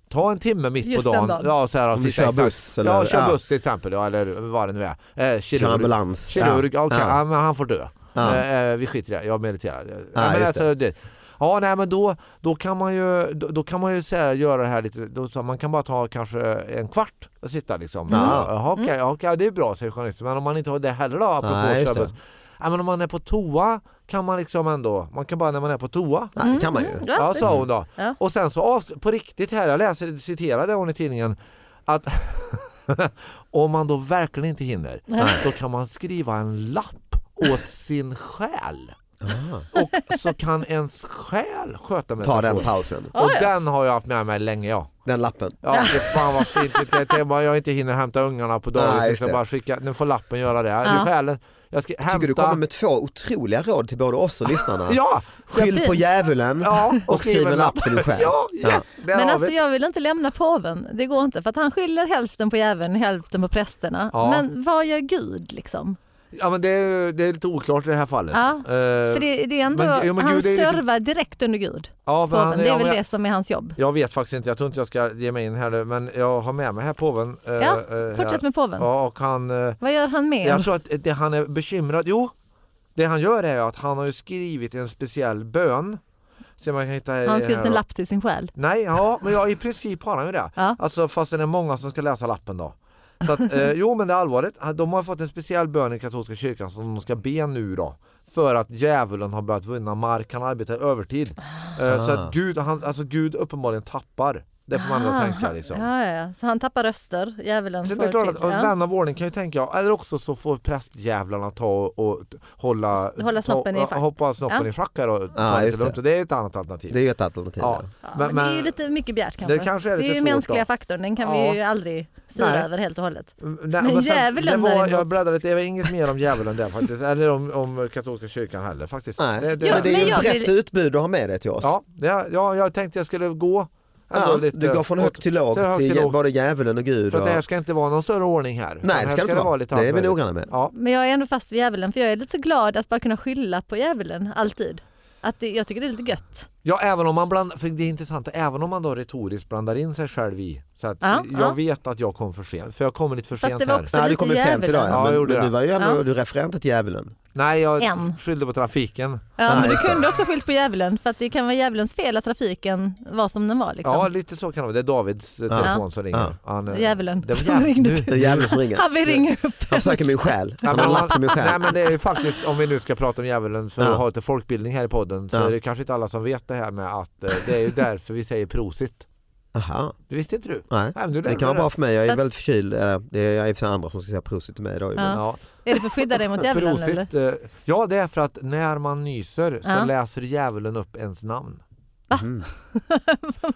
[SPEAKER 2] ta en timme mitt
[SPEAKER 4] Just
[SPEAKER 2] på dagen.
[SPEAKER 4] den dagen.
[SPEAKER 2] Ja, så här, och
[SPEAKER 3] Om du
[SPEAKER 2] sitta
[SPEAKER 3] kör
[SPEAKER 2] exakt-
[SPEAKER 3] buss eller-
[SPEAKER 2] ja, kör
[SPEAKER 3] ja.
[SPEAKER 2] buss till exempel, ja, eller vad det nu är. Eh, kirurg.
[SPEAKER 3] Kör ambulans.
[SPEAKER 2] Kirurg, ja.
[SPEAKER 3] Ja.
[SPEAKER 2] okej,
[SPEAKER 3] Ja.
[SPEAKER 2] ja, men han får dö.
[SPEAKER 3] Ja.
[SPEAKER 2] Eh, eh, vi skiter i det, jag mediterar. Ja, men
[SPEAKER 3] just
[SPEAKER 2] alltså, det. Ja, nej, men då, då kan man ju, då, då kan man ju så här, göra det här lite, då, så man kan bara ta kanske en kvart och sitta liksom.
[SPEAKER 3] Ja.
[SPEAKER 2] Ja. Jaha,
[SPEAKER 4] Mm.
[SPEAKER 2] okej, ja, okej, det är bra säger journalisten, men om man inte har det heller då, apropå
[SPEAKER 3] Nej,
[SPEAKER 2] att
[SPEAKER 3] just
[SPEAKER 2] köra
[SPEAKER 3] det.
[SPEAKER 2] buss. Ja, men om man är på toa kan man liksom ändå, man kan bara när man är på toa
[SPEAKER 3] Nej, det kan man ju.
[SPEAKER 4] Mm.
[SPEAKER 2] Ja,
[SPEAKER 4] precis.
[SPEAKER 2] sa hon då.
[SPEAKER 4] Ja.
[SPEAKER 2] Och sen så avs- på riktigt här, jag läser, citerade hon i tidningen att om man då verkligen inte hinner, då kan man skriva en lapp åt sin själ. Och så kan ens själ sköta med
[SPEAKER 3] Ta den
[SPEAKER 2] situationen.
[SPEAKER 3] pausen,
[SPEAKER 2] Och
[SPEAKER 4] Ja, ja.
[SPEAKER 2] den har jag haft med mig länge ja.
[SPEAKER 3] den lappen.
[SPEAKER 2] Ja, det fan vad fint. Det, det, det, bara jag inte hinner hämta ungarna på
[SPEAKER 3] Nej,
[SPEAKER 2] dagis.
[SPEAKER 3] just
[SPEAKER 2] så jag
[SPEAKER 3] det.
[SPEAKER 2] bara skicka, nu får lappen göra det. Det är själen. Jag ska hämta...
[SPEAKER 3] Tycker du kommer med två otroliga råd till både oss och lyssnarna.
[SPEAKER 2] Ja!
[SPEAKER 3] Skyll på
[SPEAKER 4] fint.
[SPEAKER 3] djävulen
[SPEAKER 2] ja
[SPEAKER 3] och skriv en lapp till dig själv.
[SPEAKER 2] Ja, yes, där
[SPEAKER 4] Men
[SPEAKER 2] har
[SPEAKER 4] alltså
[SPEAKER 2] vi.
[SPEAKER 4] jag vill inte lämna påven, det går inte för att han skyller hälften på djävulen hälften på prästerna.
[SPEAKER 2] Ja.
[SPEAKER 4] Men vad gör Gud liksom?
[SPEAKER 2] Ja, men det, är, det är lite oklart i det här fallet.
[SPEAKER 4] Ja,
[SPEAKER 2] Eh,
[SPEAKER 4] För det, det är ändå,
[SPEAKER 2] men- jo, men
[SPEAKER 4] han
[SPEAKER 2] Gud är ju lite-
[SPEAKER 4] servar direkt under Gud,
[SPEAKER 2] ja, men
[SPEAKER 4] påven.
[SPEAKER 2] han-
[SPEAKER 4] det
[SPEAKER 2] ja,
[SPEAKER 4] är väl
[SPEAKER 2] men
[SPEAKER 4] det som är hans jobb.
[SPEAKER 2] Jag vet faktiskt inte, jag tror inte jag ska ge mig in här nu, men jag har med mig här påven. eh,
[SPEAKER 4] Ja,
[SPEAKER 2] eh,
[SPEAKER 4] Fortsätt
[SPEAKER 2] här.
[SPEAKER 4] med påven.
[SPEAKER 2] Ja, och han, eh,
[SPEAKER 4] Vad gör han mer?
[SPEAKER 2] jag tror att det han är bekymrad, jo, det han gör är ju att han har ju skrivit en speciell bön. Så man kan hitta
[SPEAKER 4] Har han
[SPEAKER 2] här
[SPEAKER 4] skrivit
[SPEAKER 2] då.
[SPEAKER 4] en lapp till sin själ?
[SPEAKER 2] Nej, ja, men ja, i princip har han ju det.
[SPEAKER 4] Ja.
[SPEAKER 2] Alltså, fast det är många som ska läsa lappen då. Så att, eh, jo men det är allvarligt. De har fått en speciell bön i katolska kyrkan som de ska be nu då. För att djävulen har börjat vinna mark, han arbetar övertid. Eh, så
[SPEAKER 3] Ah.
[SPEAKER 2] att Gud, han, alltså Gud uppenbarligen tappar. Det får man ändå
[SPEAKER 4] Ah,
[SPEAKER 2] tänka liksom.
[SPEAKER 4] Ja, ja, ja. Så han tappar röster, djävulen.
[SPEAKER 2] Sen
[SPEAKER 4] får
[SPEAKER 2] är det klart
[SPEAKER 4] till-
[SPEAKER 2] att en vän av ordning kan ju tänka, ja, eller också så får prästdjävlarna ta och, och t- hålla,
[SPEAKER 4] Hålla snoppen i
[SPEAKER 2] ta,
[SPEAKER 4] schack.
[SPEAKER 2] hoppa snoppen
[SPEAKER 4] Ja.
[SPEAKER 2] i schack här och
[SPEAKER 3] Ja,
[SPEAKER 2] ta det
[SPEAKER 3] Ah, just
[SPEAKER 2] lite lugnt. Och Det är ett annat alternativ.
[SPEAKER 3] Det är ju ett alternativ.
[SPEAKER 2] ja.
[SPEAKER 4] Ja, men, det är ju lite mycket begärt kanske.
[SPEAKER 2] Det kanske är lite
[SPEAKER 4] ju
[SPEAKER 2] svårt
[SPEAKER 4] mänskliga
[SPEAKER 2] då.
[SPEAKER 4] faktorn, den kan
[SPEAKER 2] Ja.
[SPEAKER 4] vi ju aldrig styra
[SPEAKER 2] Nej.
[SPEAKER 4] över helt och hållet.
[SPEAKER 2] Nej,
[SPEAKER 4] Men
[SPEAKER 2] sen-
[SPEAKER 4] djävulen
[SPEAKER 2] det var,
[SPEAKER 4] däremot.
[SPEAKER 2] Jag bläddrade lite, det var inget mer om djävulen där faktiskt, eller om, om katolska kyrkan heller faktiskt.
[SPEAKER 3] Nej.
[SPEAKER 2] Det, det,
[SPEAKER 4] Ja,
[SPEAKER 3] men det är
[SPEAKER 4] men
[SPEAKER 3] ju ett
[SPEAKER 4] jag
[SPEAKER 3] brett
[SPEAKER 4] vill-
[SPEAKER 3] utbud du har med dig till oss.
[SPEAKER 2] ja, ja, ja, jag tänkte jag skulle gå ändå
[SPEAKER 3] Ja,
[SPEAKER 2] lite,
[SPEAKER 3] du går från högt till lågt
[SPEAKER 2] till högt
[SPEAKER 3] till
[SPEAKER 2] till lågt.
[SPEAKER 3] både djävulen och Gud.
[SPEAKER 2] För att
[SPEAKER 3] Och...
[SPEAKER 2] det här ska inte vara någon större ordning här. Utan
[SPEAKER 3] Nej
[SPEAKER 2] här
[SPEAKER 3] det ska det inte vara,
[SPEAKER 2] lite
[SPEAKER 3] det
[SPEAKER 2] allt
[SPEAKER 3] är vi
[SPEAKER 2] möjligt.
[SPEAKER 3] noggranna med.
[SPEAKER 2] Ja,
[SPEAKER 4] Men jag är ändå fast vid djävulen för jag är lite så glad att bara kunna skylla på djävulen alltid. Att det, jag tycker det är lite gött.
[SPEAKER 2] Ja, även om man bland, för det är intressant, även om man då retoriskt blandar in sig själv i. Så att
[SPEAKER 4] Ja,
[SPEAKER 2] jag
[SPEAKER 4] ja.
[SPEAKER 2] vet att jag kom för sent, för jag kommer lite för
[SPEAKER 4] Fast
[SPEAKER 2] sent
[SPEAKER 4] det var
[SPEAKER 2] här.
[SPEAKER 4] också-
[SPEAKER 3] Ja, du
[SPEAKER 4] lite
[SPEAKER 3] kom ju sent
[SPEAKER 4] djävulen.
[SPEAKER 3] idag
[SPEAKER 2] Ja, jag
[SPEAKER 3] men,
[SPEAKER 2] gjorde
[SPEAKER 3] men du
[SPEAKER 2] det.
[SPEAKER 3] var ju ändå,
[SPEAKER 4] Ja.
[SPEAKER 3] du refererade till djävulen.
[SPEAKER 2] Nej, jag
[SPEAKER 4] En.
[SPEAKER 2] skyllde på trafiken.
[SPEAKER 4] Ja, men du
[SPEAKER 3] just det.
[SPEAKER 4] kunde också skyllt på djävulen för att det kan vara djävulens fel att trafiken var som den var. Liksom.
[SPEAKER 2] Ja, lite så kan det vara. Det är Davids eh, telefon som ringer.
[SPEAKER 3] Ja.
[SPEAKER 2] Han, eh,
[SPEAKER 4] Djävulen
[SPEAKER 2] det var
[SPEAKER 4] som ringde
[SPEAKER 2] nu-
[SPEAKER 3] Det är djävulen som ringer.
[SPEAKER 4] Han vill ringa upp.
[SPEAKER 3] Han söker min själ,
[SPEAKER 2] Nej
[SPEAKER 3] han
[SPEAKER 2] men,
[SPEAKER 3] har lagt min
[SPEAKER 2] nej
[SPEAKER 3] själ.
[SPEAKER 2] men det är ju faktiskt, om vi nu ska prata om djävulen för
[SPEAKER 3] Ja.
[SPEAKER 2] att ha lite folkbildning här i podden så
[SPEAKER 3] Ja.
[SPEAKER 2] är det kanske inte alla som vet det här med att eh, det är ju därför vi säger prosit.
[SPEAKER 3] Aha.
[SPEAKER 2] Du visste inte du?
[SPEAKER 3] Nej.
[SPEAKER 2] Nej, men du
[SPEAKER 3] Det
[SPEAKER 2] lärde
[SPEAKER 3] kan vara
[SPEAKER 2] dig
[SPEAKER 3] bra för mig, jag är
[SPEAKER 4] Fast-
[SPEAKER 3] väldigt förkyld. Eller, Det är jag är i och för sig andra som ska säga prosit till mig idag. men-
[SPEAKER 4] Ja. Är det för att skydda dig mot djävulen eller?
[SPEAKER 2] Prosit, eh, ja det är för att när man nyser så
[SPEAKER 4] Ja.
[SPEAKER 2] läser djävulen upp ens namn. Mhm.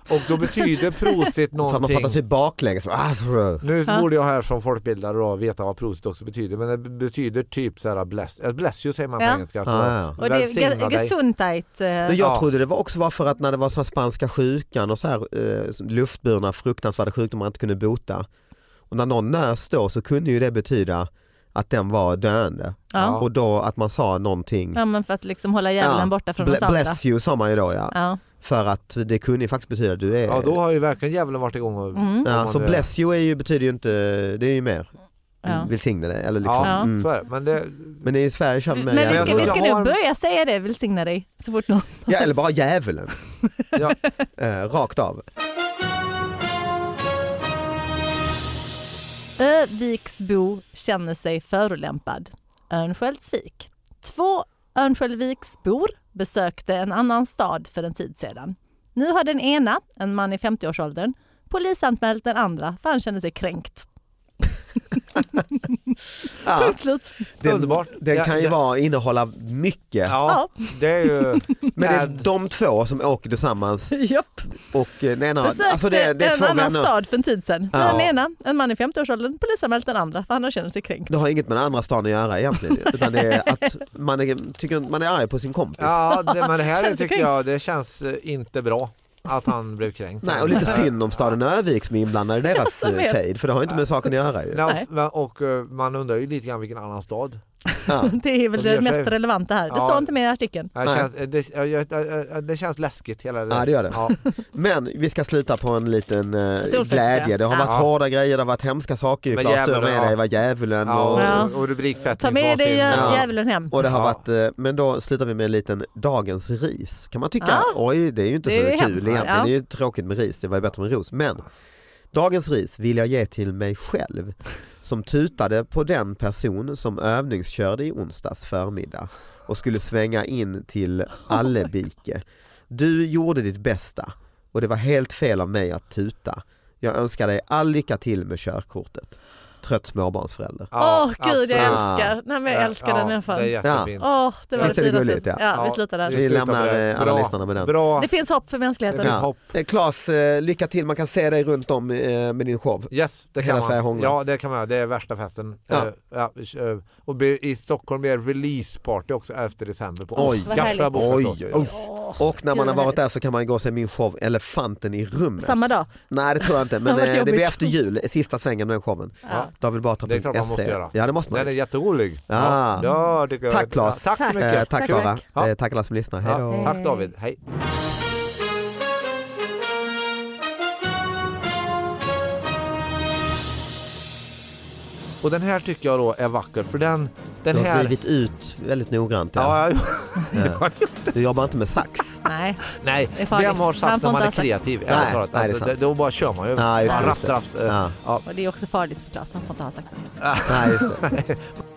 [SPEAKER 2] Och då betyder prosit
[SPEAKER 3] För att man
[SPEAKER 2] någonting.
[SPEAKER 3] pratar typ baklänges. Ah, så-
[SPEAKER 2] Nu
[SPEAKER 4] Ja.
[SPEAKER 2] borde jag här som folkbildare då veta vad prosit också betyder men det betyder typ så här bless, eh, bless you säger man på
[SPEAKER 4] Ja.
[SPEAKER 2] engelska. Så
[SPEAKER 3] Ja, ja, ja.
[SPEAKER 4] Och det
[SPEAKER 2] välsigna
[SPEAKER 4] är
[SPEAKER 2] dig.
[SPEAKER 4] gesundheit. eh,
[SPEAKER 3] Men jag
[SPEAKER 2] Ja.
[SPEAKER 3] trodde det var också var för att när det var så här spanska sjukan och så här eh, luftburna fruktansvärda sjukdomar man inte kunde bota. Och när någon nös då så kunde ju det betyda att den var döende.
[SPEAKER 4] Ja.
[SPEAKER 3] Och då att man sa någonting.
[SPEAKER 4] Ja, men för att liksom hålla djävulen
[SPEAKER 3] Ja,
[SPEAKER 4] borta från
[SPEAKER 3] ble-
[SPEAKER 4] oss andra.
[SPEAKER 3] Bless you sa man ju då ja.
[SPEAKER 4] Ja.
[SPEAKER 3] För att det kunde ju faktiskt betyda att du är...
[SPEAKER 2] Ja då har ju verkligen djävulen varit igång och
[SPEAKER 4] Mm.
[SPEAKER 2] om
[SPEAKER 3] ja,
[SPEAKER 2] man
[SPEAKER 3] så
[SPEAKER 2] nu-
[SPEAKER 3] bless you är ju, betyder ju inte, det är ju mer
[SPEAKER 4] Ja.
[SPEAKER 3] välsigna dig. Eller liksom,
[SPEAKER 2] Ja,
[SPEAKER 3] mm.
[SPEAKER 2] så är det. Men det,
[SPEAKER 3] Men i Sverige kör vi med
[SPEAKER 4] Men
[SPEAKER 2] jag
[SPEAKER 4] vi ska,
[SPEAKER 2] tror
[SPEAKER 4] vi
[SPEAKER 3] djävulen.
[SPEAKER 4] ska
[SPEAKER 2] jag
[SPEAKER 4] nu
[SPEAKER 2] har-
[SPEAKER 4] börja säga det, välsigna dig, så fort någon...
[SPEAKER 3] Ja, eller bara djävulen.
[SPEAKER 2] Ja.
[SPEAKER 3] Eh, rakt av.
[SPEAKER 4] Öviksbo känner sig förolämpad. Örnsköldsvik. Två Örnsköldsviksbor besökte en annan stad för en tid sedan. Nu har den ena, en man i 50-årsåldern, polisanmält den andra för han kände sig kränkt.
[SPEAKER 3] Ja,
[SPEAKER 4] Punkt slut.
[SPEAKER 3] den,
[SPEAKER 2] Underbart.
[SPEAKER 3] Den
[SPEAKER 2] Ja,
[SPEAKER 3] kan ju
[SPEAKER 2] ja.
[SPEAKER 3] vara, innehålla mycket.
[SPEAKER 2] Ja, det är ju...
[SPEAKER 3] Men det är
[SPEAKER 2] ad-
[SPEAKER 3] de två som åker tillsammans
[SPEAKER 4] Japp.
[SPEAKER 3] och eh, den ena,
[SPEAKER 4] Besökte
[SPEAKER 3] alltså det, det är
[SPEAKER 4] en
[SPEAKER 3] två
[SPEAKER 4] annan
[SPEAKER 3] vänner.
[SPEAKER 4] stad för en tid sedan.
[SPEAKER 3] Ja.
[SPEAKER 4] Den ena, en man i 50-årsåldern, polisanmält den andra för han kände sig kränkt.
[SPEAKER 3] Det har inget med den andra staden att göra egentligen. Utan det är att man är, tycker att man är arg på sin kompis.
[SPEAKER 2] Ja, det, men det här
[SPEAKER 4] Känns det
[SPEAKER 2] tycker jag, det känns eh, inte bra att han blev kränkt. Eh,
[SPEAKER 3] Nej, och lite synd om staden Örnsköldsvik som är inblandad i deras
[SPEAKER 4] Jag vet.
[SPEAKER 3] eh, fejd för det har ju inte med saken att göra. Ju.
[SPEAKER 2] Ja, och- och eh, man undrar ju lite grann vilken annan stad.
[SPEAKER 3] Ja.
[SPEAKER 4] Det är väl
[SPEAKER 2] Och det gör
[SPEAKER 4] det mest
[SPEAKER 2] sig-
[SPEAKER 4] relevanta här. Det
[SPEAKER 2] Ja.
[SPEAKER 4] står inte med i artikeln.
[SPEAKER 2] Det
[SPEAKER 3] Nej.
[SPEAKER 2] känns, eh, det, eh, jag- eh, eh, det känns läskigt hela det
[SPEAKER 3] Ja, det gör det.
[SPEAKER 2] Ja,
[SPEAKER 3] Men vi ska sluta på en liten eh,
[SPEAKER 4] Solfest,
[SPEAKER 3] glädje. Det har
[SPEAKER 4] ja.
[SPEAKER 3] varit
[SPEAKER 2] Ja.
[SPEAKER 3] hårda grejer, det har varit hemska saker. ju,
[SPEAKER 2] Men
[SPEAKER 3] Claes, du har
[SPEAKER 2] djävulen,
[SPEAKER 3] med dig
[SPEAKER 2] ja.
[SPEAKER 3] var djävulen och,
[SPEAKER 2] ja, och, och
[SPEAKER 4] Ta med dig eh,
[SPEAKER 2] rubrikssättningsvansinne.
[SPEAKER 3] Ja.
[SPEAKER 4] djävulen hem.
[SPEAKER 3] och det har
[SPEAKER 2] Ja.
[SPEAKER 3] varit, eh, men då slutar vi med en liten dagens ris. Kan man tycka,
[SPEAKER 4] Ja.
[SPEAKER 3] oj det är ju inte
[SPEAKER 4] Det
[SPEAKER 3] så
[SPEAKER 4] är ju
[SPEAKER 3] kul
[SPEAKER 4] hemskt,
[SPEAKER 3] egentligen.
[SPEAKER 4] ja.
[SPEAKER 3] Det är ju tråkigt med ris, det var ju bättre med ros. Men dagens ris vill jag ge till mig själv som tutade på den person som övningskörde i onsdags förmiddag och skulle svänga in till Allebike. Du gjorde ditt bästa och det var helt fel av mig att tuta. Jag önskar dig all lycka till med körkortet. Trött småbarnsförälder.
[SPEAKER 4] Åh gud jag
[SPEAKER 2] absolut.
[SPEAKER 4] älskar, Nej, men jag älskar den människan.
[SPEAKER 2] Det är
[SPEAKER 4] Åh,
[SPEAKER 2] jättefint.
[SPEAKER 4] det var
[SPEAKER 3] Visst är det
[SPEAKER 4] finaste.
[SPEAKER 3] gulligt, ja.
[SPEAKER 4] ja, vi
[SPEAKER 2] Ja,
[SPEAKER 4] slutar där.
[SPEAKER 3] Vi lämnar,
[SPEAKER 2] slutar på det.
[SPEAKER 3] eh, alla
[SPEAKER 2] Bra.
[SPEAKER 3] lyssnarna med den.
[SPEAKER 2] Bra.
[SPEAKER 4] Det finns hopp för
[SPEAKER 2] Det
[SPEAKER 4] mänskligheten.
[SPEAKER 2] finns hopp.
[SPEAKER 3] Eh, Claes, eh, lycka till. Man kan se dig runt om eh, med din show.
[SPEAKER 2] Yes, det
[SPEAKER 3] Hela
[SPEAKER 2] kan
[SPEAKER 3] Sverige
[SPEAKER 2] man.
[SPEAKER 3] hånglar.
[SPEAKER 2] Ja, det kan man göra. Det är värsta festen.
[SPEAKER 3] Ja.
[SPEAKER 2] Eh, ja, eh, och be- I Stockholm blir det releaseparty också 11 december på
[SPEAKER 3] Oj.
[SPEAKER 4] Vad härligt.
[SPEAKER 2] Oscarsfrabordet.
[SPEAKER 3] Oj, oj, oj. Och när man
[SPEAKER 4] gud,
[SPEAKER 3] har
[SPEAKER 4] vad
[SPEAKER 3] varit där så kan man gå och se min show Elefanten i rummet.
[SPEAKER 4] Samma dag.
[SPEAKER 3] Nej det tror jag inte, men
[SPEAKER 4] Det var
[SPEAKER 3] eh, det blir
[SPEAKER 4] jobbigt.
[SPEAKER 3] efter jul, sista svängen med den showen.
[SPEAKER 4] Ja.
[SPEAKER 2] Det är klart man måste
[SPEAKER 3] Davidbatra.se.
[SPEAKER 2] göra.
[SPEAKER 3] E. Ja det måste man.
[SPEAKER 2] Den är jätterolig.
[SPEAKER 3] Ah.
[SPEAKER 2] Ja, tycker jag.
[SPEAKER 3] Tack, Claes.
[SPEAKER 2] Tack så
[SPEAKER 4] Tack.
[SPEAKER 2] mycket.
[SPEAKER 3] Eh, tack
[SPEAKER 4] Tack.
[SPEAKER 3] Sara,
[SPEAKER 2] Ja.
[SPEAKER 3] Eh, tack alla som lyssnar. Hej då.
[SPEAKER 2] Ja, tack David. Hej. Och den här tycker jag då är vacker för den, den
[SPEAKER 3] Du har
[SPEAKER 2] här...
[SPEAKER 3] drivit ut väldigt noggrant. Ja.
[SPEAKER 2] Ja, jag-
[SPEAKER 3] Du jobbar inte med sax.
[SPEAKER 4] Nej.
[SPEAKER 2] nej,
[SPEAKER 4] Det är farligt.
[SPEAKER 2] vem har
[SPEAKER 4] Man
[SPEAKER 2] sax
[SPEAKER 4] får
[SPEAKER 2] när man
[SPEAKER 4] inte
[SPEAKER 2] är
[SPEAKER 4] ha sax.
[SPEAKER 2] kreativ?
[SPEAKER 3] Nej,
[SPEAKER 2] ärligt talat?
[SPEAKER 3] nej, det är
[SPEAKER 2] alltså,
[SPEAKER 3] sant.
[SPEAKER 2] det, då bara kör man ju.
[SPEAKER 3] Ja, just det,
[SPEAKER 2] Bara
[SPEAKER 3] just
[SPEAKER 2] rafs,
[SPEAKER 3] det.
[SPEAKER 2] rafs. eh,
[SPEAKER 3] Ja.
[SPEAKER 2] Ja.
[SPEAKER 4] Och det är också farligt för Claes, han får inte ha saxen.
[SPEAKER 3] Nej, just det.